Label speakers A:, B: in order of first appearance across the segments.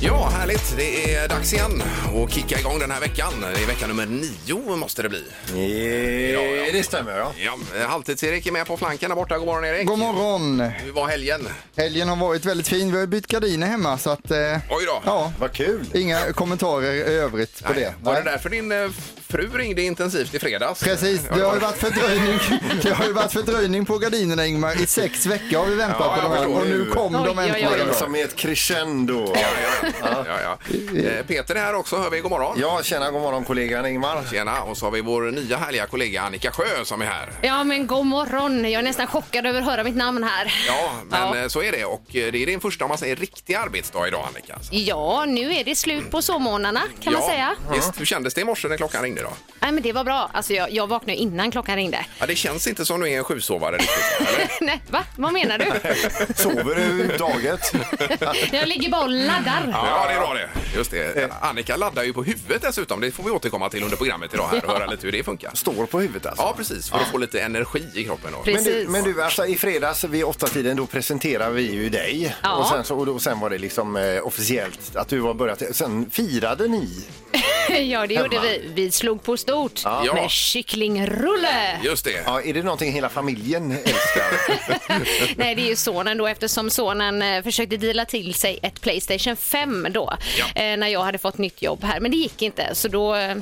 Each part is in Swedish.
A: Ja, härligt. Det är dags igen att kicka igång den här veckan. Det är vecka nummer nio måste det bli.
B: Eh, Det stämmer, ja.
A: Ja, eh, Halvtids-Erik är med på flanken där borta. God morgon Erik.
C: God morgon!
A: Hur var helgen?
C: Helgen har varit väldigt fin. Vi har ju bytt gardiner hemma så att... Eh,
A: Oj då.
C: Ja,
B: Vad kul.
C: inga kommentarer i övrigt på
A: Nej.
C: det.
A: Var det
C: Nej.
A: därför din eh, fru ringde intensivt i fredags?
C: Precis,
A: Ja,
C: det har ju varit fördröjning, det har ju varit fördröjning på gardinerna Ingmar. I sex veckor har vi väntat
A: Ja,
C: på
A: jag
C: de här
A: förstår
C: och nu
A: det.
C: kom de
D: Oj, oj, oj.
C: äntligen.
B: Som är ett crescendo.
A: Ja, ja, ja. Eh, Peter är här också, hör vi. God morgon.
B: Ja, tjena, god morgon kollegan Ingmar.
A: Tjena. Och så har vi vår nya härliga kollega Annika Sjö som är här.
E: Ja, men god morgon. Jag är nästan chockad över att höra mitt namn här.
A: Ja, men
E: Ja.
A: eh, så är det. Och eh, det är din första, om man säger, riktiga arbetsdag idag Annika. Så-
E: Ja, nu är det slut på sovmorgnarna kan
A: ja,
E: man säga.
A: Visst, hur kändes det i morse när klockan ringde då?
E: Nej, men det var bra. Alltså, jag, jag vaknade innan klockan ringde.
A: Ja, det känns inte som du är en sjusovare riktigt.
E: Nej, va? Vad menar du?
B: Sover du överhuvudtaget?
E: Jag ligger bara och laddar.
A: Ja, det är bra det. Just det. Annika laddar ju på huvudet dessutom. Det får vi återkomma till under programmet idag här och höra lite hur det funkar.
B: Står på huvudet alltså?
A: Ja, precis. För att få lite energi i kroppen. Då.
E: Precis.
B: Men du, men du alltså, i fredags vid åtta tiden då presenterade vi ju dig.
E: Ja.
B: Och, sen, så, och då, sen var det liksom eh, officiellt att du har börjat. Sen firade ni.
E: Ja, det gjorde vi. Vi slog på stort
A: Ja.
E: med kycklingrulle.
A: Just det.
B: Ja, är det någonting hela familjen älskar?
E: Nej, det är ju sonen då eftersom sonen eh, försökte deala till sig ett Playstation 5 då
A: Ja.
E: eh, när jag hade fått nytt jobb här. Men det gick inte så då eh,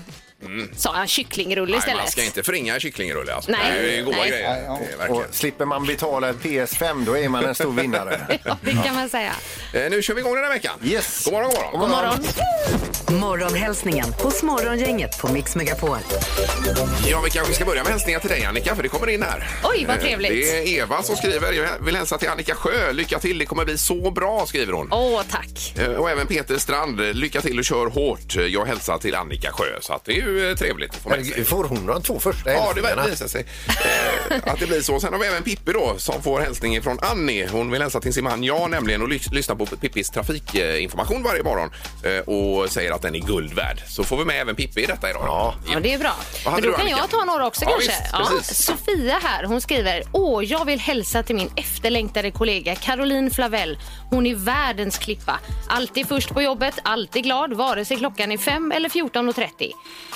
E: sa han kycklingrulle
A: Mm. Nej,
E: istället.
A: man ska inte förringa kycklingrulle. Alltså.
E: Nej.
A: Det är ju goda
E: Nej.
A: grejer. Det är
B: och
A: verkligen.
B: slipper man betala ett PS5 då är man en stor vinnare.
E: Ja, det kan man säga.
A: Eh, Nu kör vi igång den här veckan.
B: Yes.
A: God morgon, god morgon.
B: God morgon.
D: Morgonhälsningen hos Morgongänget på Mix Megapol.
A: Ja, vi kanske ska börja med hälsningar till dig Annika, för det kommer in här.
E: Oj, vad
A: Eh,
E: trevligt.
A: Det är Eva som skriver. Jag vill hälsa till Annika Sjö. Lycka till, det kommer bli så bra, skriver hon.
E: Åh, tack.
A: Eh, Och även Peter Strand, lycka till och kör hårt. Jag hälsar till Annika Sjö. Så att det är ju eh, trevligt att få med sig.
B: Herregud, Får hon de två första
A: Ja, det verkar visa sig eh, att det blir så. Sen har vi även Pippi då som får hälsning från Annie. Hon vill hälsa till sin man Jan nämligen och lys- lyssna på Pippis trafikinformation varje morgon eh, och säger att den är guld värd. Så får vi med även Pippi i detta idag.
B: Ja.
E: Ja, det är bra.
A: Vad hade
E: Men då
A: du,
E: kan
A: Annika?
E: jag ta några också
A: Ja,
E: kanske.
A: visst,
E: ja.
A: precis.
E: Sofia här, hon skriver Åh, jag vill hälsa till min efterlängtade kollega Caroline Flavell. Hon är världens klippa. Alltid först på jobbet, alltid glad, vare sig klockan är 5 eller 14.30.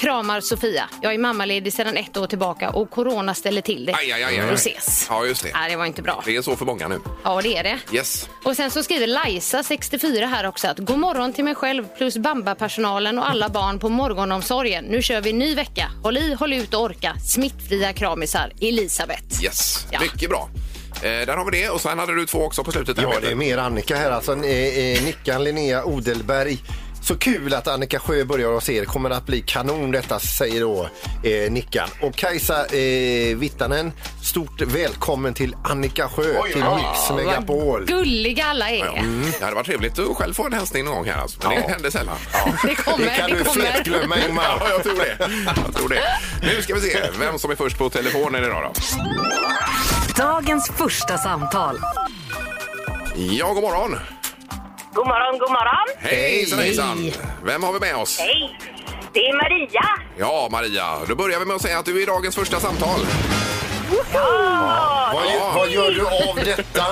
E: Kramar Sofia. Jag är mammaledig sedan ett år tillbaka och corona ställer till det.
A: Aj, aj, aj, aj.
E: Och ses.
A: Ja, just det.
E: Nej, det var inte bra.
A: Det är så för många nu.
E: Ja, det är det.
A: Yes.
E: Och sen så skriver Lajsa, 64 här också, att god morgon till mig själv plus Bamba-personalen och alla barn på morgonomsorgen. Nu kör vi ny vecka. Håll i, håll ut och orka. Smittfria kramisar. Elisabeth.
A: Yes.
E: Ja.
A: Mycket bra. Eh, där har vi det. Och sen hade du två också på slutet. där,
F: Ja,
A: Peter.
F: det är mer Annika här. Alltså, eh, eh, Nickan Linnea Odelberg. Så kul att Annika Sjö börjar hos er. Kommer att bli kanon detta, säger då eh, Nickan. Och Kajsa eh, Vittanen, stort välkommen till Annika Sjö
A: Oj,
F: till
A: ja.
F: Mix Megapol.
E: Gulliga alla är.
A: Ja. Mm. Det hade varit trevligt att själv få en hälsning någon gång här. Alltså. Men det händer sällan.
E: Det kommer,
F: Det
E: det,
F: kan du
E: kommer.
F: fetglömma, Ingmar.
A: Ja, jag tror det. Jag tror det. Nu ska vi se vem som är först på telefonen idag då.
D: Dagens första samtal.
A: Ja, god morgon.
G: God morgon, god morgon.
A: Hej, hejsan. Vem har vi med oss?
G: Hej. Det är Maria.
A: Ja, Maria. Då börjar vi med att säga att du är dagens första samtal.
G: Ja.
F: Vad, gör- vad gör du av detta?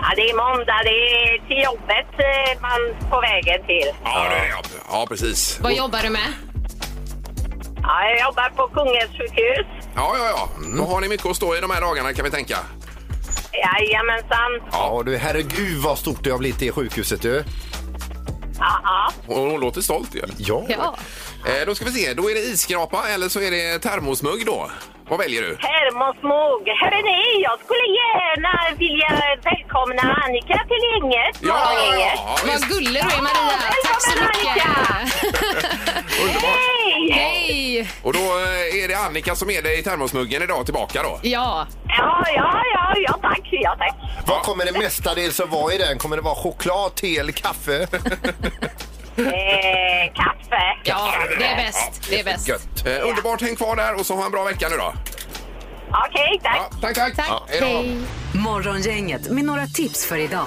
G: ja, det är måndag. Det är till jobbet eh, man på vägen till.
A: Ja, det är jag. Ja, precis.
E: Vad jobbar du med?
G: Ja, jag jobbar på Kungens sjukhus.
A: Ja, ja, ja. Då har ni mycket att stå i de här dagarna kan vi tänka.
G: Jajamensan.
F: Ja, du, herregud vad stort det har blivit det sjukhuset du.
G: Ja, ja.
A: Hon, hon låter stolt ju.
F: Ja.
E: Ja.
A: Eh, då ska vi se. Då är det isskrapa eller så är det termosmugg då. Vad väljer du?
G: Termosmog. Hörrni, jag skulle gärna vilja välkomna Annika till gänget. Morgongänget.
E: Vad
A: visst.
E: gullig du är, Maria. Tack så
G: Välkommen,
E: mycket.
G: Annika.
A: Underbart.
G: Hej!
E: Hej!
A: Och då eh, är det Annika som är dig i termosmuggen idag tillbaka då.
E: Ja.
G: Ja, ja, ja, ja, tack. Ja, tack.
F: Vad kommer det mestadels att vara i den? Kommer det vara choklad, te eller kaffe?
G: Eh, kaffe.
E: ja, det är bäst. Det är bäst.
A: Gött. Eh, underbart, häng kvar där och så ha en bra vecka nu då.
G: Okej, tack.
A: Ja, tack, tack.
E: Tack.
A: Ja, hej då.
E: Hej.
D: Morgongänget med några tips för idag.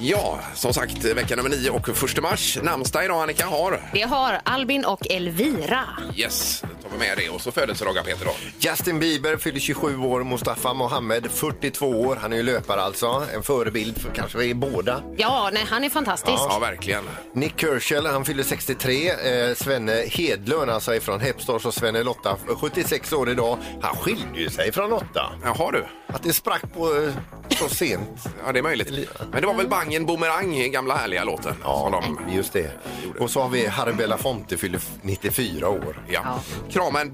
A: Ja, som sagt, eh, vecka nummer 9 och 1 mars. Namnsdag idag Annika har.
E: Det har Albin och Elvira.
A: Yes, då tar vi med det. Och så födelsedagar Peter då.
F: Justin Bieber fyller 27 år, Mustafa Mohamed 42 år. Han är ju löpare alltså, en förebild för kanske vi båda.
E: Ja, nej, han är fantastisk.
A: Ja, verkligen.
F: Nick Kershaw, han fyller 63. Eh, Svenne Hedlund, alltså ifrån Hepstars och Svenne Lotta, 76 år idag. Han skilde ju sig från Lotta.
A: Jaha du.
F: Att det sprack på eh, så sent.
A: Ja, det är möjligt. Men det var väl Bangen Boomerang, gamla härliga låten. som de...
F: Just det. Och så har vi Harry Belafonte fyller 94 år.
A: Ja. Krama en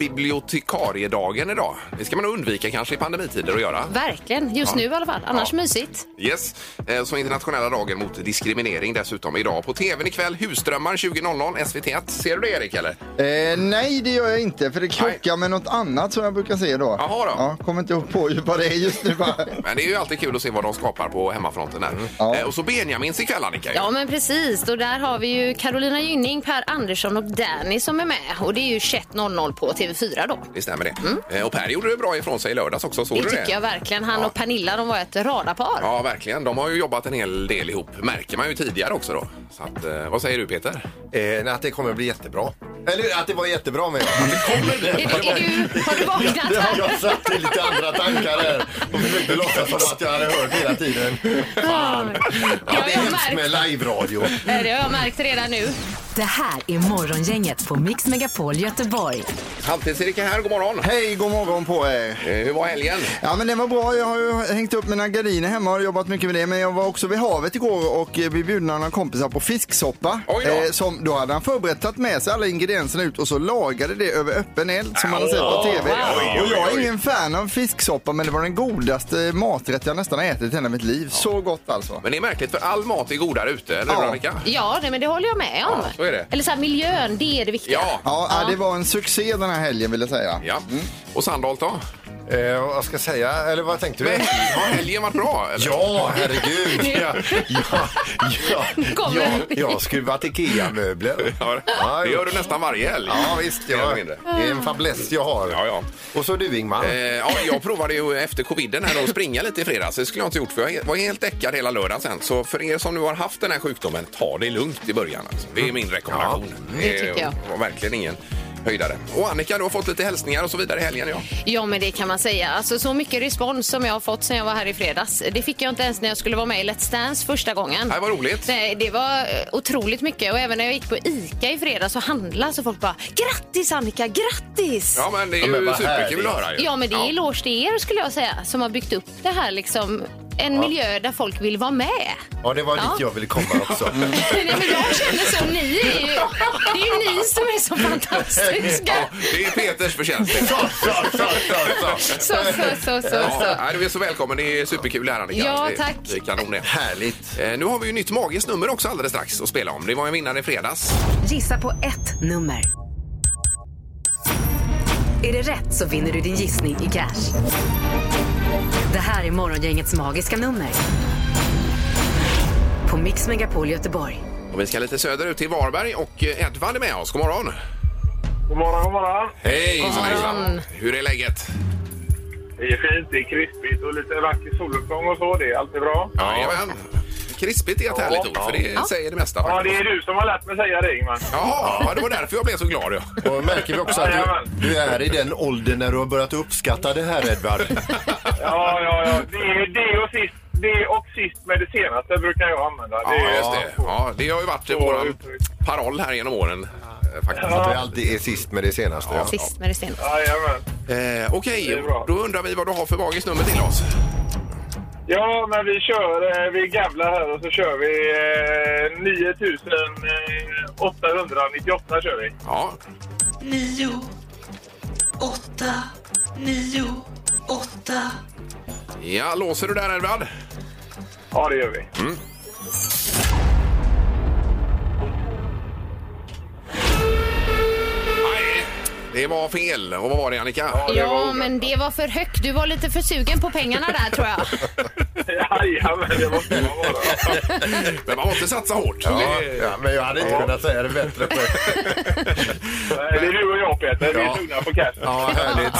A: bibliotekariedagen idag. Det ska man nog undvika kanske i pandemitider att göra.
E: Verkligen, just nu i alla fall. Annars mysigt.
A: Yes. Eh, Så internationella dagen mot diskriminering dessutom idag. På tvn ikväll, Husdrömmar 20.00, SVT1. Ser du det Erik eller?
C: Eh, nej, det gör jag inte för det krockar med något annat som jag brukar se då.
A: Jaha då.
C: Ja, kommer inte ihåg på ju vad det är just nu bara.
A: Men det är ju alltid kul att se vad de skapar på hemmafronten där.
C: Ja.
A: Eh, Och så Benjamins ikväll Annika. ju.
E: Ja, men precis. Och där har vi ju Carolina Gynning, Per Andersson och Danny som är med. Och det är ju 21.00 på TV4 då.
A: Det stämmer det. Eh, Och Per gjorde det bra ifrån sig i lördags också. Såg
E: Det
A: du
E: tycker jag verkligen. Han
A: Ja.
E: och Pernilla, de var ett radarpar.
A: Ja, verkligen. De har ju jobbat en hel del ihop, märker man ju tidigare också då. Så att, eh, vad säger du Peter?
F: Eh, att det kommer att bli jättebra. Eller att det var jättebra med.
E: Är, du, är du, har du vaknat här?
F: Jag satt i lite andra tankar här och försökte låtsas som att jag hade hört hela tiden.
E: Det
F: Ja,
E: har
F: det är
E: jag
F: hemskt med
E: märkt.
F: live-radio.
E: Nej, Det har jag märkt redan nu.
D: Det här är Morgongänget på Mix Megapol Göteborg.
A: Halvtids-Erik är här, god morgon.
C: Hej, god morgon på er.
A: Eh, Hur var helgen?
C: Ja men det var bra, jag har ju hängt upp mina gardiner hemma och jobbat mycket med det. Men jag var också vid havet igår och eh, blev bjuden av några kompisar på fisksoppa. eh,
A: Oj då.
C: som, då hade han förberett tagit med sig alla ingredienserna ut och så lagade det över öppen eld som man har sett på TV. Och jag är ingen fan av fisksoppa men det var den godaste maträtt jag nästan har ätit i hela mitt liv. Så gott alltså.
A: Men det är märkligt för all mat är godare ute, eller hur
C: Ja.
A: Annika?
E: Ja, nej, men det håller jag med om.
A: Ja, så är det.
E: Eller så här, miljön, det är det viktiga.
A: Ja.
C: Ja, ja, det var en succé den här helgen vill jag säga.
A: ja. Och Sandholt då?
F: Eh, vad ska jag säga? Eller vad tänkte du?
A: Men, har helgen varit bra? Eller?
F: Ja, herregud! Ja, ja, ja,
E: Kommer.
F: ja, jag har skruvat IKEA-möbler.
A: Ja, det gör du nästan varje helg.
F: Ja, visst.
A: Mer eller
F: Ja.
A: mindre.
F: Det är en fäbless jag har.
A: Ja, ja.
F: Och så du, Ingmar.
A: Eh, ja, jag provade ju efter coviden här att springa lite i fredags. Det skulle jag inte gjort för jag var helt däckad hela lördagen sen. Så för er som nu har haft den här sjukdomen, ta det lugnt i början. Alltså. Det är
F: Mm.
A: min rekommendation. Eh,
E: det tycker jag.
A: var verkligen ingen höjdare. Och Annika, du har fått lite hälsningar och så vidare i helgen. Ja.
E: Ja, men det kan man säga. Alltså, så mycket respons som jag har fått sen jag var här i fredags. Det fick jag inte ens när jag skulle vara med i Let's Dance första gången.
A: Det var roligt.
E: Nej, det var eh, otroligt mycket och även när jag gick på ICA i fredags och handlade så folk bara grattis Annika, grattis!
A: Ja, men det är
F: Ja, men
A: ju
F: vad
A: superkul
F: härligt.
A: att höra. ju.
E: Ja, men det är
A: ja.
E: eloge till er skulle jag säga som har byggt upp det här liksom. En miljö där folk vill vara med.
F: Ja, det var dit
E: Ja.
F: jag ville komma också.
E: Nej, men jag känner så. Ni är ju, det är ju ni som är så fantastiska.
A: Ja, det är Peters förtjänst.
F: Så, så, så, så, så.
E: Så, så, så, så,
A: Ja,
E: så.
A: nej, du är så välkommen. Det är superkul här Annika.
E: Ja,
A: Det-
E: tack.
A: Det är kanon det.
F: Härligt.
A: Eh, Nu har vi ju nytt magiskt nummer också alldeles strax att spela om. Det var en vinnare i fredags.
D: Gissa på ett nummer. Är det rätt så vinner du din gissning i cash. Det här är Morgongängets magiska nummer. På Mix Megapol Göteborg.
A: Och vi ska lite söderut till Varberg och eh, Edvard är med oss. God morgon!
H: God morgon, god morgon.
A: Hej! Hur är läget?
H: Det är fint, det är krispigt och lite vacker soluppgång och så. Det är alltid bra.
A: Jajamän! Krispigt är ett härligt ord, för det säger det mesta.
H: Ja,
A: faktiskt.
H: det är du som har lärt mig säga det, Ingmar.
A: Jaha, ja, det var därför jag blev så glad. Ja.
F: Och märker vi också att du,
H: Jajamän.
F: du är i den åldern när du har börjat uppskatta det här, Edvard.
H: Ja, ja, ja. Det, är- det, och sist, det och sist med det senaste brukar jag använda. Det
A: Ja,
H: är-
A: just det. Ja, det har ju varit eh, vår paroll här genom åren. eh, Faktiskt.
F: Att vi alltid är sist med det senaste. Ja.
E: Sist med det senaste.
H: Jajamän.
A: Eh, Okej,
H: Det är bra.
A: då undrar vi vad du har för magiskt nummer till oss.
H: Ja, men vi kör, eh, vi gamblar här och så kör vi eh, 9898 kör vi.
A: Ja,
I: nio, åtta, nio, åtta.
A: ja låser du där Edvard?
H: Ja, det gör vi.
A: Nej, det var fel. Och vad var det Annika?
E: Ja, men det var för högt. Du var lite för sugen på pengarna där tror jag.
A: Mm.
H: Jajamän, det måste man vara.
A: Men man måste satsa hårt.
F: Ja, ja, men jag hade inte kunnat säga det bättre själv.
H: Nej, Eh, Det är du och jag, Peter. Vi är sugna på cash.
F: Ja, härligt.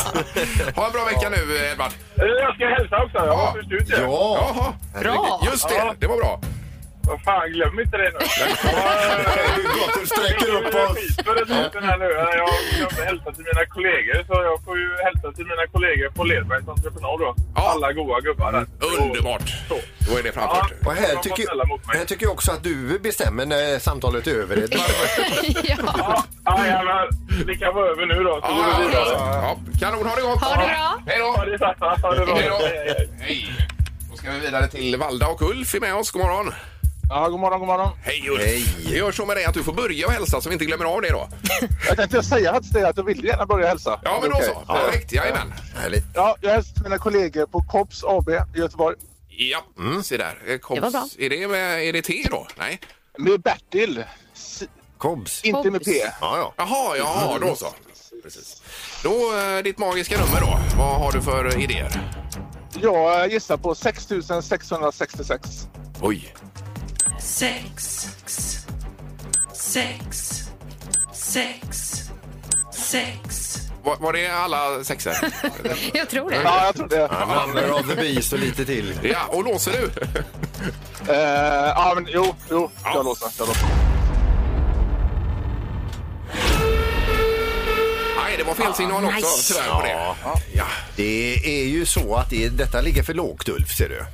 A: Ha en bra vecka nu, Edvard.
H: Eh, Jag ska hälsa också. Jag
A: Ja.
H: har förstått det.
F: Ja,
A: Jaha.
E: Bra!
A: Just det, det var bra.
H: Vad fan, glöm inte det nu.
F: Gott du sträcker upp oss.
H: För ett tag sedan här nu. Jag glömde hälsa till mina kollegor, så jag får ju hälsa till mina kollegor på Ledbergs entreprenad då.
A: Ja.
H: Alla goa gubbar där.
A: Underbart!
H: Så.
A: Då är det framfört.
H: Ja.
F: Och här
H: De får
F: tycker,
H: ställa mot mig.
F: här tycker jag också att du bestämmer när samtalet är över. Det var-
E: ja.
H: Ja, ja, Ah, ja, men det kan vara över nu då. Så går
A: Ja,
H: vi vidare.
A: ja, kanon, ha det gott!
E: Ha det bra.
A: Hej
H: Ja,
A: då!
H: det är sant. Ja, det är bra.
A: Hej då!
H: Hej, hej, hej.
A: Hej! Då ska vi vidare till Valda och Ulf är med oss. God morgon!
J: Ja, god morgon, god morgon.
A: Hej Ulf! Vi gör så med dig att du får börja och hälsa så vi inte glömmer av det då.
J: Jag tänkte säga till dig att jag vill gärna börja hälsa.
A: Ja, men då så. Perfekt, jajamän.
F: Härligt.
J: Ja, jag hälsar till mina kollegor på Kops AB i Göteborg.
A: Ja, se där. Eh,
E: Det
A: Kops.
E: var bra.
A: Är det, med, är det te då? Nej?
J: Med Bertil, S-
F: Kobs.
J: inte med P.
F: Ja, ja.
A: Jaha, ja, då så. Precis. Då, eh, ditt magiska nummer då. Vad har du för eh, idéer?
J: Jag gissar på 6666.
A: Oj!
I: sex, sex, sex, sex.
A: Var, var det alla sexor?
E: Jag tror det.
J: Ja, jag tror det.
F: Number of the beast och lite till.
A: Ja, och låser du?
J: Eh, ja, men jo, jo.
A: Ja.
J: Jag låser. Jag låser.
A: Nej, det var fel signal också
D: nice.
A: tyvärr på det.
F: Ja.
A: Ah, Ja.
F: Det är ju så att det, detta ligger för lågt, Ulf, ser du.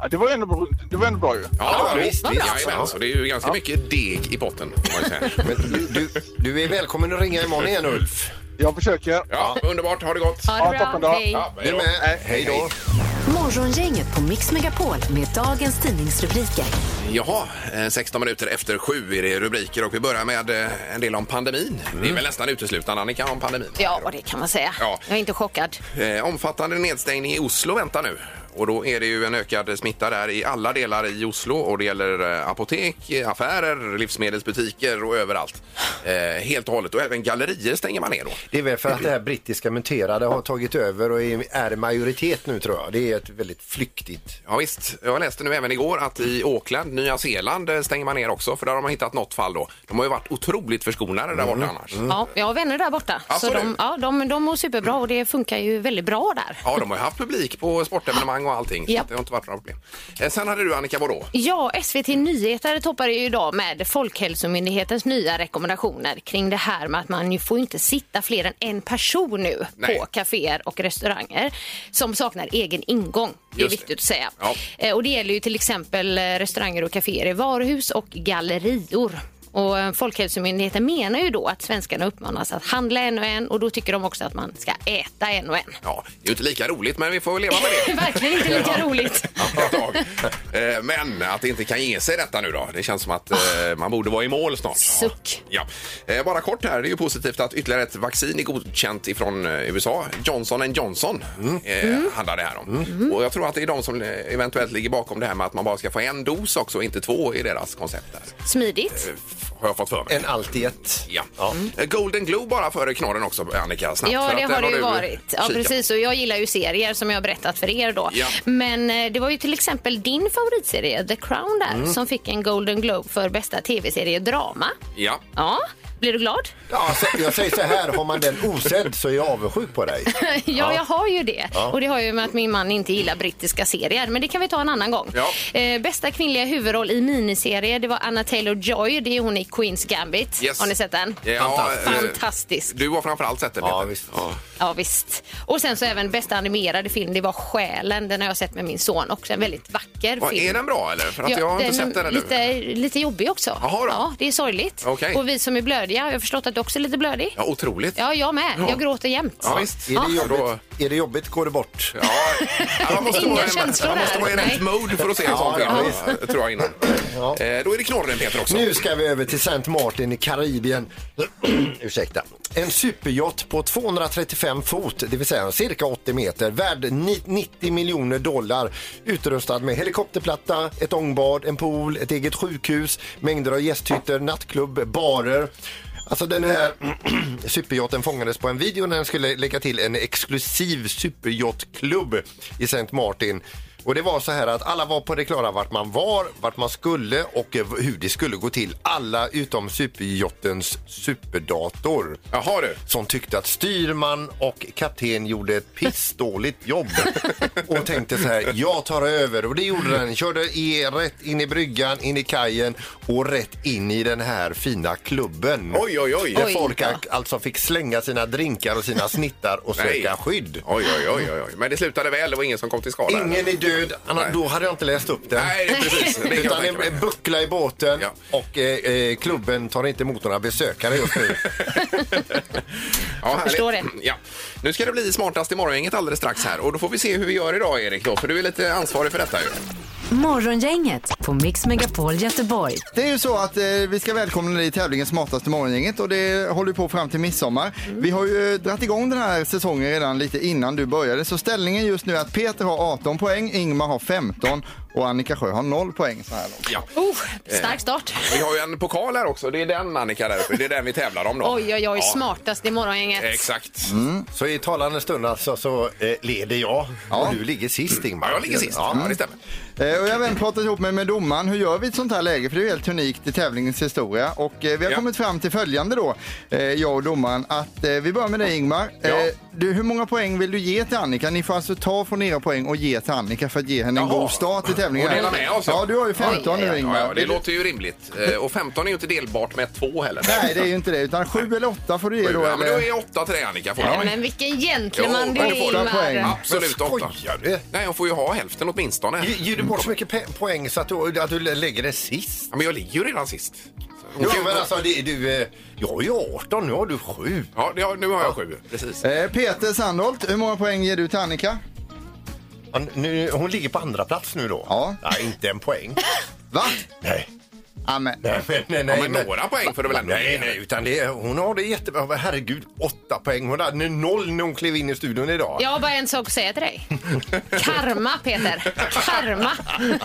J: Ja, det var ju ändå, det var ändå bra ju.
A: Ja,
F: Ja, visst, visst.
A: Jajamän, så det är ju ganska mycket deg i potten. får man ju säga.
F: Men du, du, du är välkommen att ringa imorgon igen, Ulf.
J: Jag försöker.
A: Ja, underbart. Ha det gott.
E: Ha
J: Ja,
E: det
J: toppen
E: bra.
J: då.
E: Hej.
A: Ja,
F: Du
A: hej
F: är
A: då.
F: med. Hej då.
D: Morgongänget på Mix Megapol med dagens tidningsrubriker.
A: Jaha, eh, 16 minuter efter sju är det rubriker och vi börjar med eh, en del om pandemin. Det är väl nästan uteslutande Annika om pandemin.
E: Ja, det kan man säga.
A: Ja.
E: Jag är inte chockad.
A: Eh, Omfattande nedstängning i Oslo väntar nu. Och då är det ju en ökad smitta där i alla delar i Oslo och det gäller eh, apotek, eh, affärer, livsmedelsbutiker och överallt. Eh, helt och hållet. Och även gallerier stänger man ner då.
F: Det är väl för att det här brittiska muterade har tagit över och är- är majoritet nu, tror jag. Det är ett väldigt flyktigt...
A: Ja, visst, jag läste nu även igår att i Auckland, Nya Zeeland, eh, stänger man ner också för där har man hittat något fall då. De har ju varit otroligt förskonade där borta annars.
E: Ja, jag har vänner där borta.
A: Absolut.
E: Så de, ja, de, de mår superbra och det funkar ju väldigt bra där.
A: Ja, de har ju haft publik på sportevenemang och allting. Så
E: Ja.
A: att det har inte varit några problem. Eh, sen hade du Annika Borå.
E: Ja, SVT Nyheter toppar ju idag med Folkhälsomyndighetens nya rekommendationer kring det här med att man ju får inte sitta fler än en person nu
A: Nej.
E: på kaféer och restauranger som saknar egen ingång. Det är
A: Just det.
E: viktigt att säga.
A: Ja.
E: Eh, Och det gäller ju till exempel eh, restauranger och kaféer i varuhus och gallerior. Och eh, Folkhälsomyndigheten menar ju då att svenskarna uppmanas att handla en och en och då tycker de också att man ska äta en och en.
A: Ja, det är ju inte lika roligt men vi får väl leva med det.
E: Verkligen inte lika roligt.
A: ett tag. Eh, Men att det inte kan ge sig detta nu då. Det känns som att eh, man borde vara i mål snart.
E: Ah, Suck.
A: Ja. Eh, Bara kort här, det är ju positivt att ytterligare ett vaccin är godkänt ifrån eh, USA. Johnson Johnson eh, handlar det här om.
E: Mm.
A: Och jag tror att det är de som eh, eventuellt ligger bakom det här med att man bara ska få en dos också och inte två i deras koncept. Där. Eh,
E: Smidigt.
A: Har jag fått för mig.
F: En allt i ett.
A: Ja. Eh, Golden Globe bara före knorren också, Annika.
E: Mm.
A: Snabbt,
E: Ja,
A: för
E: det
A: att
E: har
A: den
E: det ju
A: du
E: varit. Ja,
A: kikat
E: precis. Och jag gillar ju serier som jag har berättat för er då.
A: Ja.
E: Men eh, det var ju till exempel din favoritserie The Crown där
A: Mm.
E: som fick en Golden Globe för bästa tv-serie drama.
A: Ja.
E: Ja, blir du glad?
F: Ja, så- jag säger så här, har man den osedd så är jag avundsjuk på dig.
E: ja, jag har ju det. Och det har ju med att min man inte gillar brittiska serier. Men det kan vi ta en annan gång.
A: Ja.
E: Eh, bästa kvinnliga huvudroll i miniserie, det var Anna Taylor-Joy. Det är hon i Queens Gambit.
A: Yes.
E: Har ni sett den?
A: Ja, eh,
E: Fantastisk.
A: Du har framförallt sett det, Peter.
F: Ja, visst.
E: Ja visst. Och sen så även bästa animerade film, det var Själen. Den har jag sett med min son också. En väldigt vacker
A: Vad,
E: film.
A: Är den bra eller? För att jag har inte sett den ännu.
E: lite, lite jobbig också.
A: Jaha då.
E: Ja, det är sorgligt.
A: Okej.
E: Och vi som är blödiga, jag har förstått att du också är lite blödig.
A: Ja, otroligt.
E: Ja, jag med. Jag gråter jämt.
A: Ja, visst.
F: Är det,
A: Då-
F: jobbigt, är det jobbigt går det bort.
A: Ja, ja, man måste
E: Inga
A: vara i-
E: känslor
A: Man måste
E: där.
A: vara i
E: Nej.
A: rätt mode för att se en sån film. Ja, Tror jag innan. Eh, Då är det knorren Peter också.
F: Nu ska vi över till St. Martin i Karibien. Ursäkta. En superyacht på 235 fot, det vill säga cirka 80 meter, värd ni- 90 miljoner dollar. Utrustad med helikopterplatta, ett ångbad, en pool, ett eget sjukhus, mängder av gästhytter, nattklubb, barer. Alltså den här superyachten fångades på en video när den skulle lägga till en exklusiv superyachtklubb i St. Martin. Och det var så här att alla var på det klara vart man var, vart man skulle och eh, hur det skulle gå till. Alla utom superjottens superdator.
A: Jaha du.
F: som tyckte att styrman och kapten gjorde ett pissdåligt jobb och tänkte så här, jag tar över. Och det gjorde den. Körde i, rätt in i bryggan, in i kajen och rätt in i den här fina klubben.
A: Oj, oj, oj.
F: Där
E: Oj
F: folk
E: då.
F: alltså fick slänga sina drinkar och sina snittar och söka
A: Nej.
F: skydd.
A: Oj, oj, oj, oj, oj. Men det slutade väl? Det var ingen som kom till skada? eller?
F: Ingen är död, annars,
A: Nej.
F: då hade jag inte läst upp den.
A: Nej, precis. Det kan jag
F: Utan
A: tänka
F: en,
A: mig.
F: en buckla i båten
A: Ja.
F: och eh, eh, klubben tar inte emot några besökare just nu.
A: Ja, härligt.
E: förstår det.
A: Ja. Nu ska det bli smartast i morgongänget alldeles strax här och då får vi se hur vi gör idag Erik då, för du är lite ansvarig för detta ju.
D: Morgongänget på Mix Megapol Göteborg.
C: Det är ju så att eh, vi ska välkomna dig i tävlingen Smartaste morgongänget och det håller ju på fram till midsommar. Vi har ju eh, dragit igång den här säsongen redan lite innan du började så ställningen just nu är att Peter har 18 poäng, Ingmar har 15 och Annika Sjö har 0 poäng så här långt.
A: Ja.
E: Oh,
A: Eh.
E: stark start.
A: Vi har ju en pokal här också. Det är den Annika där uppe. Det är den vi tävlar om då.
E: Oj, oj, oj.
A: Ja,
E: Smartast i morgongänget.
A: Exakt.
C: Mm.
F: Så i talande stund alltså så eh, leder jag
C: Ja.
F: och du ligger sist Ingmar.
A: Ja, jag ligger sist. Ja, det stämmer.
C: Eh, och jag har även pratat ihop mig med domaren. Hur gör vi i ett sånt här läge? För det är ju helt unikt i tävlingens historia. Och eh, vi har
A: Ja.
C: kommit fram till följande då, eh, jag och domaren. Att eh, vi börjar med dig Ingmar. Eh,
A: Ja.
C: du, hur många poäng vill du ge till Annika? Ni får alltså ta från era poäng och ge till Annika för att ge henne en
A: Jaha.
C: god start i tävlingen.
A: Och dela med oss, ja.
C: Ja, du har ju 15
E: Oj, oj,
C: nu
E: oj.
C: Ingmar.
A: Ja, ja, det låter ju rimligt. Eh, Och 15 är ju inte delbart med 2 heller.
C: Nej, det är ju inte det. Utan sju eller åtta får du ge då.
A: Ja, men då
C: eller?
A: är 8 till dig Annika. Får
E: Nej,
A: jag.
E: Men vilken gentleman
A: Jo,
E: du
A: men
E: är,
A: du får
C: den poängen.
E: Ingmar.
A: Absolut
F: Men
A: 8.
F: skojar du?
A: Nej, jag får ju ha hälften åtminstone.
F: Ge- Ger du bort så mycket pe- poäng så att du, att du lägger det sist?
A: Ja, men jag ligger ju redan sist. Så-
F: Jo, men alltså det, du, eh, jag har ju 18, nu har du 7.
A: Ja, det har, nu har jag 7. Precis.
C: Eh, Peter Sandholt, hur många poäng ger du till Annika?
F: Han, nu, hon ligger på andra plats nu då?
C: Ja.
F: Nej, inte en poäng.
C: Va?
F: nej.
C: Amen.
F: Nej, men, nej,
A: Ja,
F: nej,
A: men
F: men-
A: några poäng får du väl ändå
F: Nej,
A: ge?
F: nej, utan det, hon har det jättebra. Men Herregud, åtta poäng. Hon hade noll när hon klev in i studion idag.
E: Jag har bara en sak att säga till dig. Karma, Peter. Karma. Nej,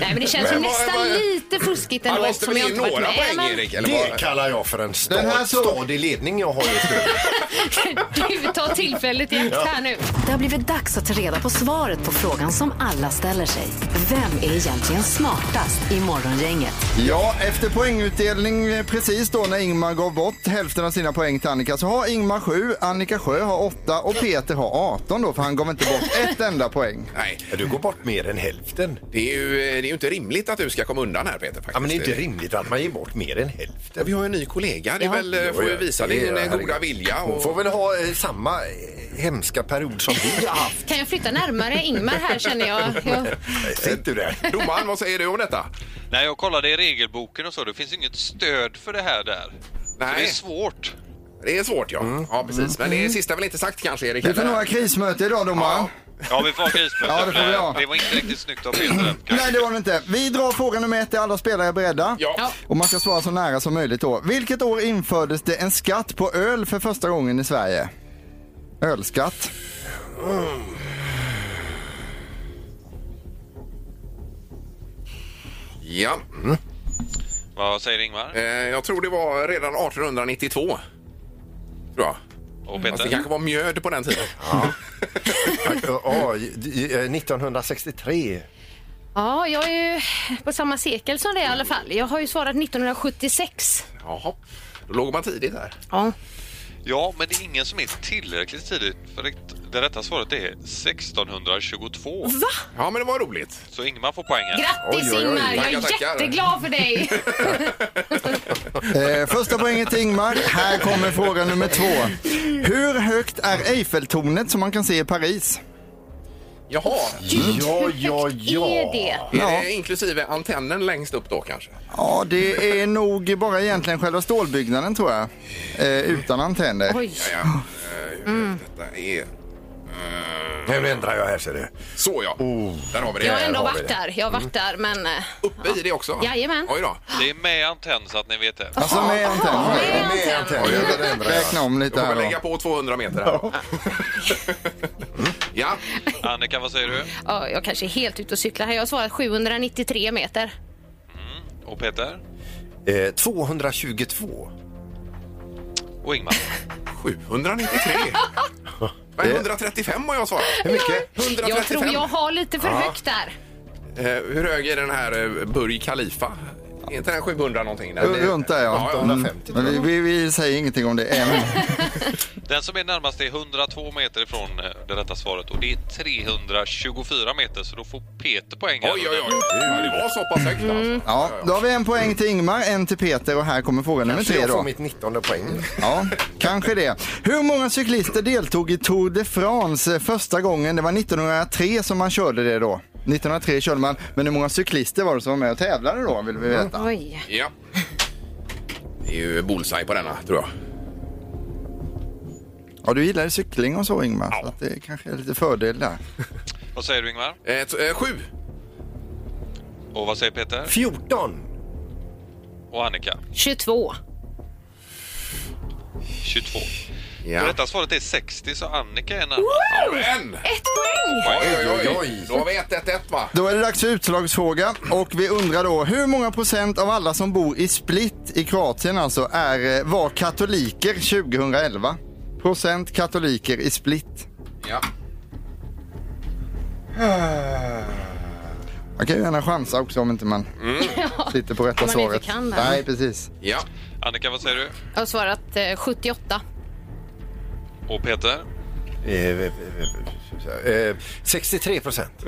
E: men det känns ju
A: Men vad-
E: nästan
A: vad-
E: lite fuskigt
A: Han
E: ändå
A: måste
E: eftersom
A: väl
E: jag
A: ge
E: inte varit
A: några
E: med.
A: poäng,
E: men
A: Erik? Eller
F: Det
A: vad?
F: kallar jag för en stad,
C: Den här så-
F: stadig ledning jag har just nu.
E: Du tar tillfället i akt här nu.
D: Det har blivit dags att ta reda på svaret på frågan som alla ställer sig. Vem är egentligen smartast i morgongänget?
C: Ja, efter poängutdelning eh, precis då när Ingmar gav bort hälften av sina poäng till Annika så har Ingmar 7, Annika Sjö har 8 och Peter har 18 då för han gav inte bort ett enda poäng.
A: Nej,
F: Du går bort mer än hälften.
A: det är, ju, det är ju inte rimligt att du ska komma undan här Peter. Faktiskt.
F: Ja, men det är inte rimligt att man ger bort mer än hälften.
A: Vi har ju en ny kollega. Det är väl, får ju visa din eh, goda vilja.
F: Hon
A: Och...
F: får väl ha eh, samma eh, hemska period som vi har haft.
E: Kan jag flytta närmare Ingmar här känner jag? jag...
F: Sitter du där?
A: Domaren, vad säger du om detta?
I: Nej, jag kollade i regelboken och så. Det finns inget stöd för det här där. Så det är
A: Nej,
I: svårt.
A: det är svårt ja. Ja, precis. Men det sista är väl inte sagt kanske Erik?
C: Vi får nog
A: eller?
C: ha krismöte idag domaren.
A: Ja.
I: Ja, vi får ha grismöte.
C: Ja, det får vi ha.
I: det var inte riktigt snyggt av Peter.
C: Nej, det var det inte. Vi drar fråga nummer ett där alla spelare är beredda.
A: Ja.
C: Och man ska svara så nära som möjligt då. Vilket år infördes det en skatt på öl för första gången i Sverige? Ölskatt.
A: ja.
I: Vad säger Ingmar?
A: Eh, jag tror det var redan 1892. Tror jag.
I: Och
A: Fast det
I: Peter?
A: kanske var mjöd på den tiden.
F: Ja, eh, 1963.
E: Ja, jag är ju på samma sekel som dig i alla fall. Jag har ju svarat 1976.
A: Jaha. Då låg man tidigt där.
E: Ja.
I: Ja, men det är ingen som är tillräckligt tidigt. För det- det rätta svaret är 1622.
A: Ja, men det var roligt.
I: Så Ingmar får poängen.
E: Grattis
A: Oj, oj, oj.
E: Ingmar! Jag är
A: Tackar, tackar.
E: jätteglad för dig.
C: Eh, första poängen till Ingmar. Här kommer fråga nummer två. Hur högt är Eiffeltornet som man kan se i Paris?
A: Jaha.
F: Ja, ja,
E: Är det?
F: ja.
A: Är det inklusive antennen längst upp då kanske?
C: Ja, det är nog bara egentligen själva stålbyggnaden tror jag. Eh, utan antenner.
E: Oj.
C: Mm.
A: Ja. Eh,
E: Mm.
A: Detta är... Eh,
F: Nej, Mm. Nu ändrar jag här ser du.
A: Så ja.
C: Oh.
A: Där har vi det.
E: Jag har ändå
F: har vi
E: varit där. Jag har varit där, men... eh,
A: Uppe i det också?
E: Jajamän.
A: Oj då.
I: Det är med antenn så att ni vet det.
C: Alltså med antenner.
E: med
F: Med
E: antenn.
F: antenn. Ja, det ändrar jag.
C: Räkna om lite
A: Då får
C: här
A: vi
C: då.
A: lägga på 200 meter här. då. ja.
I: Annika, vad säger du?
E: Ja, jag kanske är helt ute och cyklar här. Jag har svarat 793 meter.
I: Och Peter?
F: Eh, 222.
I: Och Ingmar?
A: 793. Men 135 har jag svarat.
F: Hur mycket?
E: Jag
A: 135.
E: tror jag har lite för högt där.
A: Eh, Hur hög är den här eh, Burj Khalifa? Är inte den 700 någonting? Där?
C: Runt där ja.
A: ja,
F: 850,
C: Men vi, vi, vi säger ingenting om det än.
I: Den som är närmast är 102 meter ifrån eh, det rätta svaret och det är 324 meter så då får Peter poäng. här.
A: Oj, oj, oj. Ja, Det var så pass högt
E: Mm.
A: alltså.
C: Ja, då har vi en poäng till Ingmar, en till Peter och här kommer fråga nummer
F: Så
C: tre
F: jag får
C: då.
F: mitt 19 poäng.
C: Ja, kanske det. Hur många cyklister deltog i Tour de France eh, första gången? Det var 1903 som man körde det då. 1903 körde man, men hur många cyklister var det som var med och tävlade då vill vi veta.
E: Oj.
A: Ja. Det är ju bullseye på denna, tror jag.
C: Ja, du gillar ju cykling och så Ingmar, så att det kanske är lite fördel där.
I: Vad säger du Ingmar?
A: Eh, t- eh, sju.
I: Och vad säger Peter?
F: 14.
I: Och Annika?
E: 22.
I: 22.
A: Ja.
I: Det rätta svaret är 60 så Annika är närmast.
A: Men!
E: Ett poäng!
A: Oj, oj, oj. Då har vi 1-1-1 va?
C: Då är det dags för utslagsfråga och vi undrar då hur många procent av alla som bor i Split i Kroatien alltså är, eh, var katoliker 2011? Procent katoliker i Split.
A: Ja.
C: Man kan ju gärna chansa också om inte man sitter på rätta
E: Mm. Om man
C: svaret.
E: inte kan det.
C: Nej, precis.
A: ja.
I: Annika, vad säger du?
E: Jag har svarat eh, 78.
I: Och Peter?
F: Eh, eh, eh, eh, 63 procent.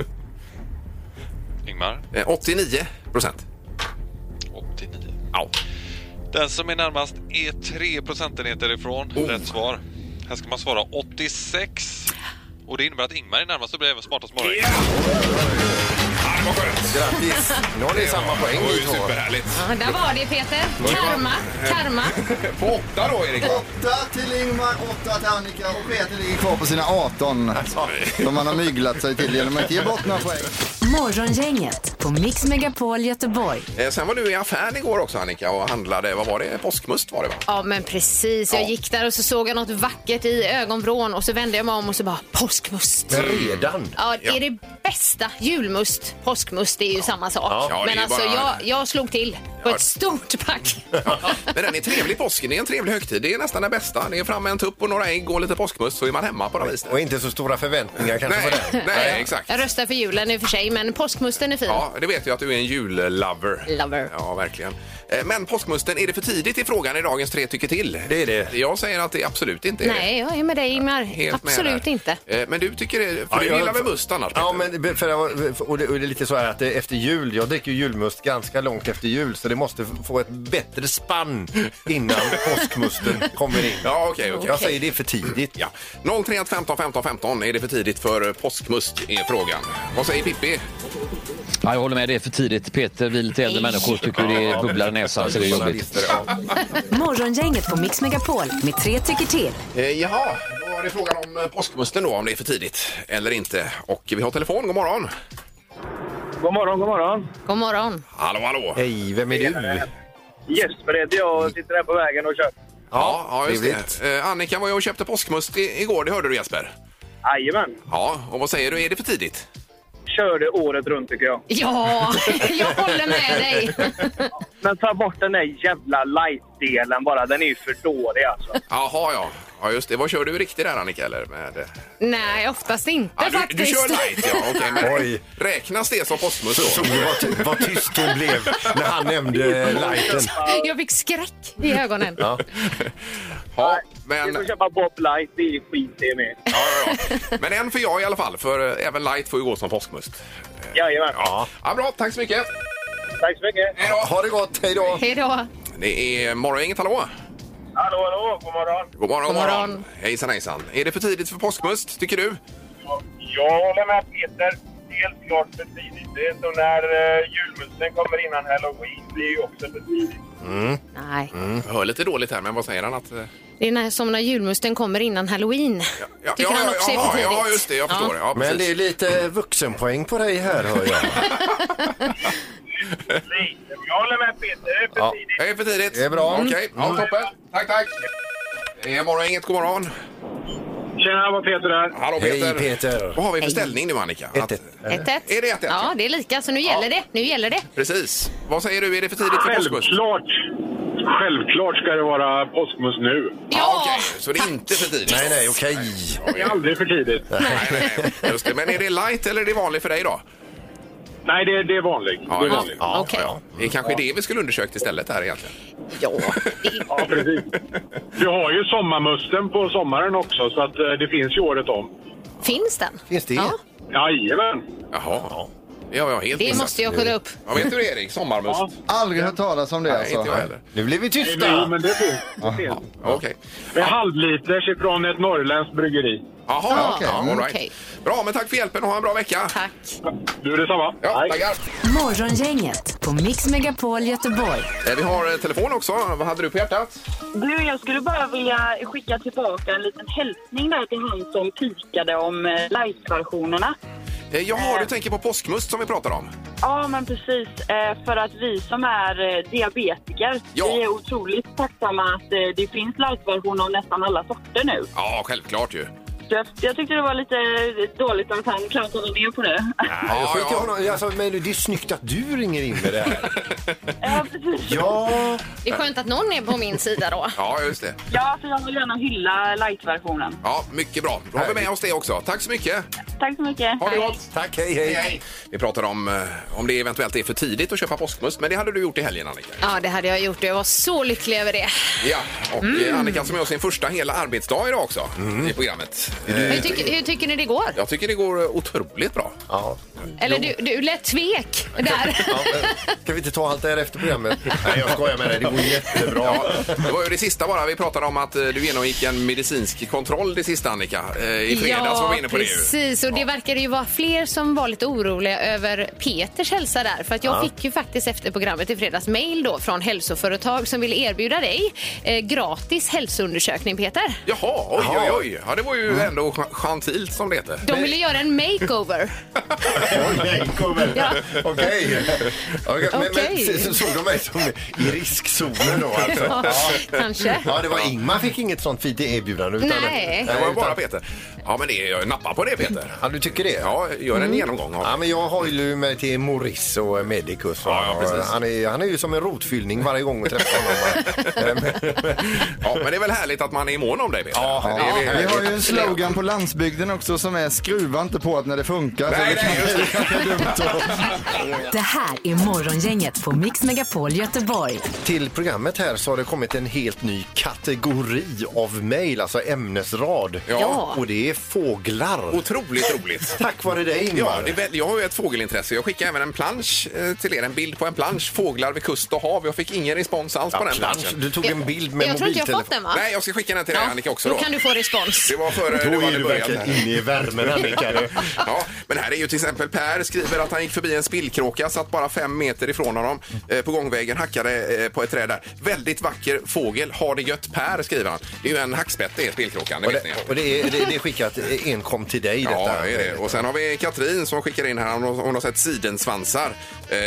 I: Ingmar?
A: Eh, 89 procent.
I: 89.
A: Ja.
I: Den som är närmast är 3 procentenheter ifrån
K: Oh.
I: rätt svar. Här ska man svara 86. Och det innebär att Ingmar är närmast och blir även smartast morgon.
A: Ja, det var skönt.
F: Grattis! Nu har ni samma poäng
A: Det var
F: ni
A: ju
F: två.
A: superhärligt.
E: Ja, där var det Peter. Karma, karma.
A: På åtta då, Erik.
C: 8 till Ingmar, 8 till Annika och Peter ligger kvar på sina 18. Som han har myglat sig till genom att inte ge bort några poäng.
D: Morgongänget på Mix Megapol Göteborg.
A: Eh, Sen var du i affären igår också, Annika, och handlade, vad var det? Påskmust var det, va?
E: Ja men precis, jag
A: Ja.
E: gick där och så såg jag något vackert i ögonvrån och så vände jag mig om och så bara påskmust.
F: Men redan?
E: Ja, det
A: Ja.
E: är det bästa. Julmust, påskmust, det är ju samma sak.
A: Ja, det är
E: Men
A: ju
E: alltså
A: bara-
E: jag, jag slog till på
A: Ja.
E: ett stort pack.
A: Men den är trevlig påsken, det är en trevlig högtid. Det är nästan den bästa. Det är fram med en tupp och några ägg och lite påskmust så är man hemma på något vis.
F: Och inte så stora förväntningar kanske
A: Nej,
F: på den.
A: nej, exakt.
E: Jag röstar för julen i och för sig, men påskmusten är fin.
A: Ja, det vet jag att du är en jullover.
E: Lover.
A: Ja, verkligen. Eh, Men påskmusten, är det för tidigt i frågan i dagens Tre tycker till?
F: Det är det.
A: Jag säger att det absolut inte är
E: Nej, jag är med dig Ingmar.
A: det. Eh, Helt med
E: Absolut
A: där.
E: inte.
A: Eh, Men du tycker det, för du
F: jag-
A: gillar väl must annars?
F: Ja,
A: Peter?
F: men be- för, jag- och, det, och det är lite så här att det är efter jul, jag dricker ju julmust ganska långt efter jul så det måste f- få ett bättre spann innan påskmusten kommer in.
A: Ja, okej, okej.
F: Jag säger det är för tidigt.
A: Ja. 031 15 15 15 är det för tidigt för eh, påskmust är frågan. Vad säger Pippi?
H: Ja, jag håller med, det är för tidigt. Peter, vi lite äldre människor tycker det är bubblar i näsan så det är jobbigt.
F: Journalister, ja.
D: Morgongänget på Mix Megapol med tre tycker till.
A: Eh, jaha, då var det frågan om eh, påskmusten då, om det är för tidigt eller inte. Och vi har telefon, god morgon.
H: God morgon, god morgon.
E: God morgon.
A: Hallå, hallå.
F: Hej, vem är du?
H: Jesper heter jag och sitter här på vägen och kör.
A: Ja, ja just det. Eh, Annika var jag och köpte påskmust i- igår, det hörde du Jesper.
H: Jajamän.
A: Ja, och vad säger du, är det för tidigt?
H: Körde året runt tycker jag.
E: Ja, jag håller med dig.
H: Men ta bort den där jävla light-delen bara. Den är ju för dålig alltså.
A: Jaha, ja. Ja, just det. Vad kör du riktigt där Annika? Eller? Med, eh,
E: Nej, oftast inte
A: ah, du,
E: faktiskt.
A: du kör light, ja. Okej, men
F: Oj.
A: Räknas det som påskmust
F: Så,
A: då?
F: vad, ty- vad tyst hon blev när han nämnde eh, lighten.
E: Jag fick skräck i ögonen.
F: Ja.
A: Ja,
H: Vi får
A: men, ja,
H: köpa Bob Light, det är skit det med.
A: ja, ja. men en för jag i alla fall, för eh, även light får ju gå som påskmust. Eh,
H: Jajamän.
A: Ja. ja, bra. Tack så mycket.
H: Tack så mycket.
A: Hej då.
F: Ha det gott, hej då!
E: Hej då.
A: Det är Morgongänget, hallå!
H: Hallå, hallå, god morgon.
A: God morgon,
E: God morgon.
A: Hejsan, hejsan. Är det för tidigt för påskmust, tycker du?
H: Jag håller med Peter. Helt klart för tidigt. Det är som när uh, julmusten kommer innan halloween. Det är ju också för tidigt.
E: Nej,
A: Jag hör lite dåligt här, men vad säger han? Att, eh,
E: det är när, som när julmusten kommer innan halloween. Tycker han också är
A: ja,
E: för tidigt.
A: ja, just det. Jag
E: Ja.
A: förstår det. Ja,
F: Men det
A: precis.
F: är lite vuxenpoäng på dig här hör jag.
H: Lite. Jag håller med Peter. Det är för
F: Ja.
H: tidigt.
A: Det är för tidigt.
F: Det är bra. Mm.
A: Okej, ja, toppen. Tack, tack. Det är Morgongänget, god morgon.
H: Tjena, det var Peter här.
A: Hallå, Peter.
F: Hej Peter!
A: Vad har vi för ställning nu, Annika? Att-
F: 1-1.
E: Ett, ett.
A: Är det ett, ett?
E: Ja, det är lika. Så nu gäller det. Nu gäller det.
A: Precis. Vad säger du? Är det för tidigt för påskmust?
H: Självklart.
L: Självklart ska det vara påskmust nu.
A: Ja, okej. Så det är inte för tidigt?
L: Nej, nej,
F: okej.
L: Det är aldrig för tidigt.
A: Nej, nej, nej. Just det. Men är det light eller är det vanlig för dig då?
L: Nej, det, det är vanlig. det är
A: just
L: vanlig.
A: Ja, ja. Det är kanske det vi skulle undersökt istället här egentligen.
L: Ja, precis. Du har ju sommarmusten på sommaren också, så att eh, det finns ju året om.
E: Finns den?
F: Finns det?
E: Ja.
L: Jajamän.
A: Jaha. Ja, ja, helt
E: Det
A: missat.
E: måste jag kolla upp.
A: Ja, vet du det, Erik? Sommarmust?
C: Aldrig hört talas om det
A: Nej,
C: alltså.
A: inte jag heller.
F: Nu blir vi
L: Jo,
F: tysta.
L: men det finns. Det finns.
A: Okej.
L: Det är halvliters ifrån ett norrländskt bryggeri.
A: Jaha,
E: Ja,
A: okej.
E: mm,
A: all right.
E: okej.
A: Bra, men tack för hjälpen och ha en bra vecka.
E: Tack.
L: Du, detsamma.
A: Ja,
L: Hej.
A: tackar.
D: Morgongänget på Mix Megapol Göteborg.
A: Eh, Vi har eh, telefon också. Vad hade du på hjärtat?
G: Du, jag skulle bara vilja skicka tillbaka en liten hälsning där till han som pikade om eh, live-versionerna.
A: Eh, Jaha, du tänker på påskmust som vi pratar om.
G: Ja, men precis. Eh, För att vi som är eh, diabetiker,
A: Ja.
G: vi är otroligt tacksamma att eh, det finns light-versioner av nästan alla sorter nu.
A: Ja, självklart ju.
G: Så jag- jag tyckte det var lite eh, dåligt att han klantade ner på det.
F: Ja, jag skiter i
A: ja.
F: honom. Alltså, men det är snyggt att du ringer in med det här.
G: Ja, precis.
F: Ja,
E: Det är skönt att någon är på min sida då.
A: Ja, just det.
G: Ja, för jag vill gärna hylla light-versionen.
A: Ja, mycket bra. Då har vi med oss det också. Tack så mycket.
G: Tack så mycket.
A: Ha det gott.
F: tack. Hej, hej.
A: Vi pratar om eh, om det eventuellt är för tidigt att köpa påskmust, men det hade du gjort i helgen Annika.
E: Ja, det hade jag gjort och jag var så lycklig över det.
A: Ja, och eh, Annika som gör sin första hela arbetsdag idag också i programmet. Eh,
E: Hur, tycker- hur tycker ni det går?
A: Jag tycker det går eh, otroligt bra.
F: Ja.
E: Eller du, du lät tvek där.
F: Ja, men, kan vi inte ta allt det här efter programmet? Nej, jag skojar med dig. Det går jättebra.
A: Ja, det var ju det sista bara. Vi pratade om att eh, du genomgick en medicinsk kontroll det sista Annika. Eh, I fredags var vi inne på det ju.
E: precis. Och det verkade ju vara fler som var lite oroliga över Peters hälsa där. För att jag fick ju faktiskt efter programmet i fredags mail då från hälsoföretag som ville erbjuda dig eh, gratis hälsoundersökning Peter.
A: Jaha, oj, oj, oj. Ja, det var ju
F: Mm.
A: ändå ch- gentilt som det heter. Eh,
E: De ville göra en makeover. Ja.
F: Okej. Okej, men-
E: Okej.
F: men så- så Såg de mig som i riskzonen då? Alltså.
E: Ja, kanske.
F: Ja, det var Ingmar fick inget sånt fint erbjudande. Utan
E: Nej.
A: Det var ju
F: utan-
A: bara Peter. Ja, men det är nappa på det Peter.
F: Ja, du tycker det?
A: Ja, gör en
E: Mm.
A: genomgång av
F: Ja, men jag har ju mig till Morris och Medicus.
A: Ja, ja, precis.
F: han, är, han är ju som en rotfyllning varje gång vi träffar honom.
A: Ja, men det är väl härligt att man är mån om dig, Peter?
F: Ja,
A: det är väl
C: Vi
A: härligt.
C: har ju en slogan på landsbygden också som är skruva inte på att när det funkar.
A: Nej,
C: Så det
A: nej, just det.
C: kanske är dumt att-
D: Det här är Morgongänget på Mix Megapol Göteborg.
F: Till programmet här så har det kommit en helt ny kategori av mejl, alltså ämnesrad.
A: Ja.
F: Och det är fåglar.
A: Otroligt roligt.
F: Tack vare dig
A: Ja,
F: Ingmar.
A: det är väl, jag har ju ett fågelintresse. Jag skickade även en plansch eh, till er, en bild på en plansch, fåglar vid kust och hav. Jag fick ingen respons alls på den planschen.
F: Du tog en bild med
E: jag tror inte jag har fått
F: mobiltelefon.
E: den va?
A: Nej, jag ska skicka den till dig, Annika, också.
E: då
A: Då.
E: kan du få respons.
A: Eh, Det var före
F: Då
A: du
F: är
A: hade
F: du
A: börjat.
F: verkligen
A: här.
F: inne i värmen Annika. du.
A: Ja, men här är ju till exempel Per skriver att han gick förbi en spillkråka, satt bara fem meter ifrån honom eh, på gångvägen, hackade eh, på ett träd där. Väldigt vacker fågel, har det gött Per, skriver han. Det är ju en hackspett det är spillkråkan, det
F: Och
A: vet
F: det,
A: ni.
F: och det, är, det, det är skickat enkom till dig detta.
A: Ja, det är det. Och sen har vi Katrin som skickar in här. Hon har, hon har sett sidensvansar. Eh,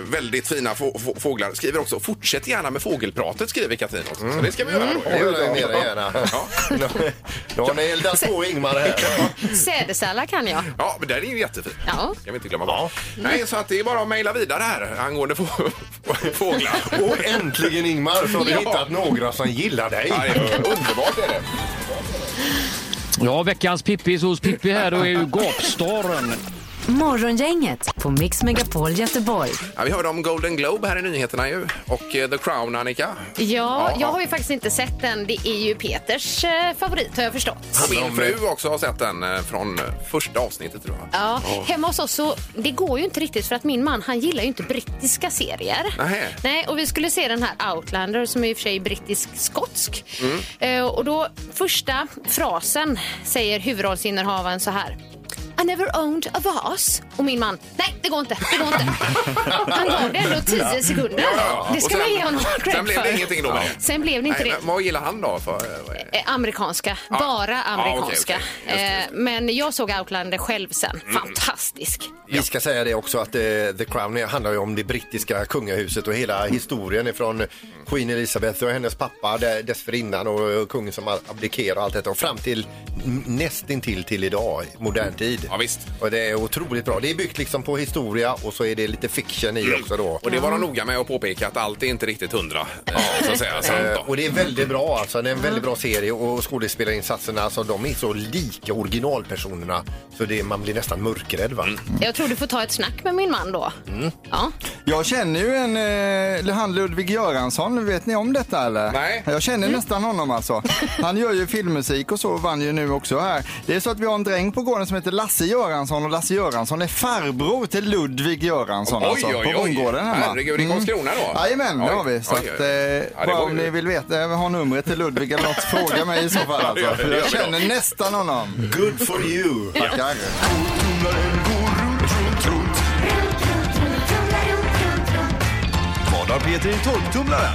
A: väldigt fina få, få, fåglar. Skriver också, fortsätt gärna med fågelpratet skriver Katrin också. Så det ska vi göra då.
F: Det gör jag mer än gärna.
A: Ja.
F: Nu- Nu har ni eldat på Ingmar här.
E: Sädesärla kan jag.
A: Ja, men den är ju jättefin.
E: Ja.
A: Ska vi inte glömma bort. Nej, så att det är bara att mejla vidare här angående få, fåglar.
F: Och äntligen Ingmar så har vi hittat några som gillar dig.
A: Ja, det är underbart är det.
H: Ja, veckans Pippis hos Pippi här då är ju gapstaren.
D: Morgongänget på Mix Megapol Göteborg.
A: Ja, vi hörde om Golden Globe här i nyheterna ju. Och eh, The Crown, Annika.
E: Ja,
A: Ja.
E: jag har ju faktiskt inte sett den. Det är ju Peters eh, favorit har jag förstått.
A: Och min fru också har sett den eh, från första avsnittet tror jag.
E: Ja, hemma hos oss så, det går ju inte riktigt för att min man han gillar ju inte brittiska serier.
A: Nähä.
E: Nej, och vi skulle se den här Outlander som är i och för sig brittisk-skotsk.
A: Mm.
E: Eh, och då första frasen säger huvudrollsinnehavaren så här. I never owned a vase. Och min man, nej det går inte, det går inte. Han gav det ändå tio sekunder. Det ska man
A: Och sen-
E: ge honom cred
A: Sen blev
E: för.
A: det ingenting då med det.
E: Sen blev det inte
A: Nej,
E: det.
A: men vad gillar han då? För, eh,
E: Eh, Amerikanska, bara amerikanska.
A: okej, okej. Just det, Mm. just
E: Eh, Men jag såg Outlander själv sen. Fantastisk.
F: Vi ska säga det också att eh, The Crown handlar ju om det brittiska kungahuset och hela historien ifrån Queen Elizabeth och hennes pappa där- dessförinnan och eh, kungen som abdikerar och allt detta och fram till m- nästintill till idag, i modern tid.
A: Ja, visst.
F: Och det är otroligt bra. Det är byggt liksom på historia och så är det lite fiction i också då.
A: Och det var de noga med att påpeka att allt är inte riktigt hundra. eh, Så att säga. sant då.
F: Eh, Och det är väldigt bra alltså. Det är en väldigt bra serie och skådespelarinsatserna, alltså de är så lika originalpersonerna så det, man blir nästan mörkrädd va?
E: Jag tror du får ta ett snack med min man då. Ja.
C: Jag känner ju en, eh, han Ludvig Göransson, vet ni om detta eller?
A: Nej.
C: Jag känner nästan honom alltså. Han gör ju filmmusik och så och vann ju nu också här. Det är så att vi har en dräng på gården som heter Lasse Göransson och Lasse Göransson är farbror till Ludvig Göransson
A: Oj,
C: alltså,
A: oj, oj.
C: på bondgården hemma. Mm.
A: Herregud, i Karlskrona då?
C: Jajamän, det
A: Oj.
C: har vi. Så
A: Oj,
C: att,
A: oj,
C: eh,
A: oj. Ja, det
C: bara
A: var
C: om
A: ju-
C: ni vill veta, eh, ha numret till Ludvig eller något, fråga mig i så fall
A: Ja,
C: alltså.
A: det gör
C: För
A: vi då.
C: jag känner nästan honom.
F: Good for you!
C: Tackar.
K: Vad har Peter i torktumlaren?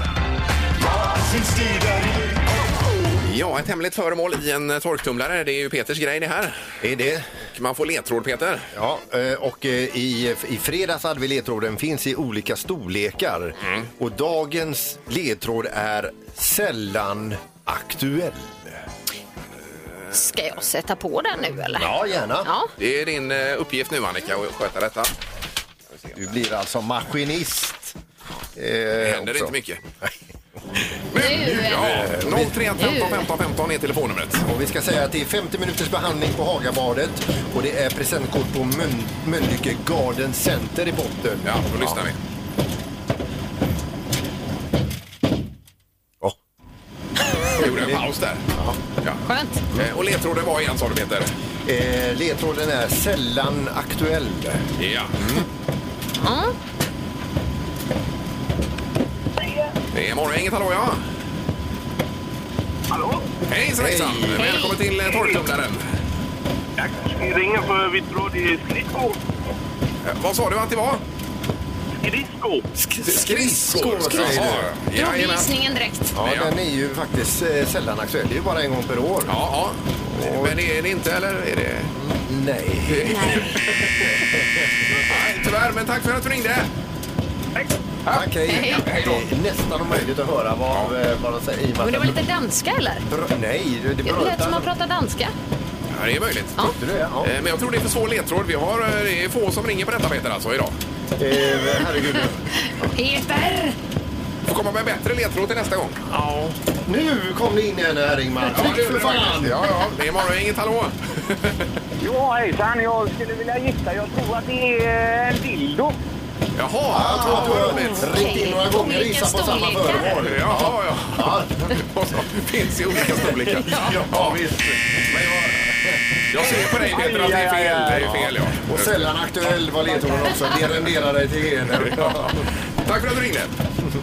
A: Ja, ett hemligt föremål i en eh, torktumlare. Det är ju Peters grej det här.
F: Det är det.
A: Och Man får ledtråd, Peter.
F: Ja, eh, och eh, i, i fredags hade vi ledtråden finns i olika storlekar.
A: Mm.
F: Och dagens ledtråd är sällan aktuell.
E: Ska jag sätta på den nu eller?
F: Ja, gärna.
E: Ja.
A: Det är din eh, uppgift nu, Annika, att sköta detta.
F: Du blir alltså maskinist. Eh,
A: Det händer
F: också.
A: inte mycket.
E: Nu, eh,
A: Ja, 031 15 15 15 är telefonnumret.
F: Och vi ska säga att det är 50 minuters behandling på Hagabadet och det är presentkort på Mön- Mölnlycke Garden Center i botten.
A: Ja, då lyssnar vi.
F: Ja.
A: Jag gjorde en paus där. Ja.
E: Skönt.
A: Eh, Och ledtråden var igen, sa du, Peter?
F: Eh, ledtråden är sällan aktuell.
A: Ja.
E: Ja.
A: Det är Morgongänget, hallå ja!
L: Hallå?
A: Hejsan hejsan! Välkommen till eh, torktumlaren.
L: Vi ringer för vi tror det är skridskor.
A: Eh, Vad sa du att det var?
L: Skridskor?
A: Skridskor!
F: Skridskor, säger
A: Jaha.
E: Drog
A: Jajamän.
E: gissningen direkt.
F: Ja,
A: Ja.
F: den är ju faktiskt eh, sällan aktuell. Det är ju bara en gång per år.
A: Ja, ja. Men är det inte, eller? Är det...
F: Nej.
A: Nej, tyvärr, men tack för att du ringde.
F: Tack, hej.
A: Hej då.
F: Det är nästan omöjligt att höra vad, eh, vad de säger. i och med
E: Men det
F: att
E: var
F: den-
E: lite danska eller?
F: Br- Nej, det- det
E: Det lät som
F: brötar.
E: man pratade danska.
A: Ja, det är möjligt.
E: Ja.
F: Du, ja.
A: Eh, Men jag tror det är för svår ledtråd. Vi har, eh, det är få som ringer på detta, Peter, alltså, idag.
F: Eh, herregud.
E: Peter!
A: Får komma med bättre ledtråd till nästa gång.
F: Nu kom det in en här, Ingmar.
A: Ja,
F: Tryck för
A: det
F: fan.
A: faktiskt. Ja, ja. Det är Morgongänget, hallå!
H: Jo, hejsan. Jag skulle vilja gissa. Jag tror att det är en dildo.
A: Jaha, jag tror att du har roligt.
F: Ringt in några gånger och gissat på samma
E: Olika storlekar.
F: föremål.
A: Jaha, ja. ja. Och så finns i olika storlekar. Ja, visst. Men jag, jag ser på dig Peter att det är fel. Det är fel, ja.
F: Och sällan aktuell var ledtråden också. Det renderar dig till gener.
A: Tack för att du ringde.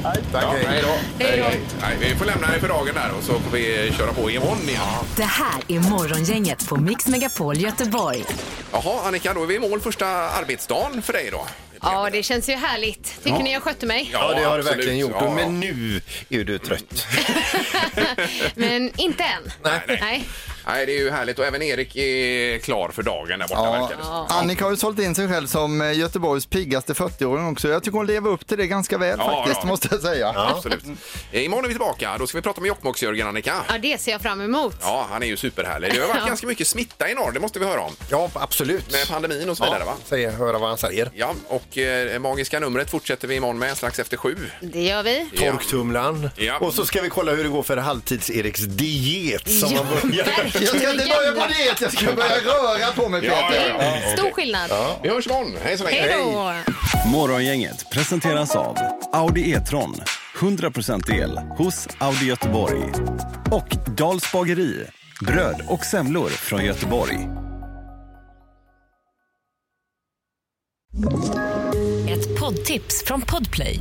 F: Tack,
A: Ja,
F: hej.
A: då.
E: Hej då.
A: Nej, vi får lämna dig för dagen där och så får vi köra på imorgon igen.
D: Det här är Morgongänget på Mix Megapol Göteborg.
A: Jaha, Annika, då är vi i mål första arbetsdagen för dig då.
E: Ja, det känns ju härligt. Tycker ni jag skötte mig?
F: Ja, det har du verkligen gjort.
A: Ja, ja.
F: Men nu är du trött.
E: Men inte än.
A: Nej, nej.
E: nej.
A: Nej, det är ju härligt och även Erik är klar för dagen där borta
C: Ja,
A: verkar det.
C: Annika har ju sålt in sig själv som eh, Göteborgs piggaste 40-åring också. Jag tycker hon lever upp till det ganska väl
A: Ja,
C: faktiskt,
A: ja.
C: måste jag säga.
A: Absolut. Eh, Imorgon är vi tillbaka. Då ska vi prata med Jokkmokks-Jörgen, Annika.
E: Ja, det ser jag fram emot.
A: Ja, han är ju superhärlig. Det har varit
E: Ja.
A: ganska mycket smitta i norr, det måste vi höra om.
F: Ja, absolut.
A: Med pandemin och så vidare, va?
F: Säger, höra vad han säger.
A: Ja, och eh, magiska numret fortsätter vi imorgon med strax efter sju.
E: Det gör vi.
F: Torktumlaren.
A: Ja.
F: Och så ska vi kolla hur det går för halvtids-Eriks diet som
E: Ja,
F: han börjar.
C: Jag ska inte börja på
E: verkligen.
C: det, jag ska börja röra på mig Peter.
E: Stor skillnad.
A: Vi hörs imorgon. Hej så länge.
E: Hej då!
K: Morgongänget presenteras av Audi E-tron. 100% el hos Audi Göteborg. Och Dals bageri. Bröd och semlor från Göteborg.
M: Ett poddtips från Podplay.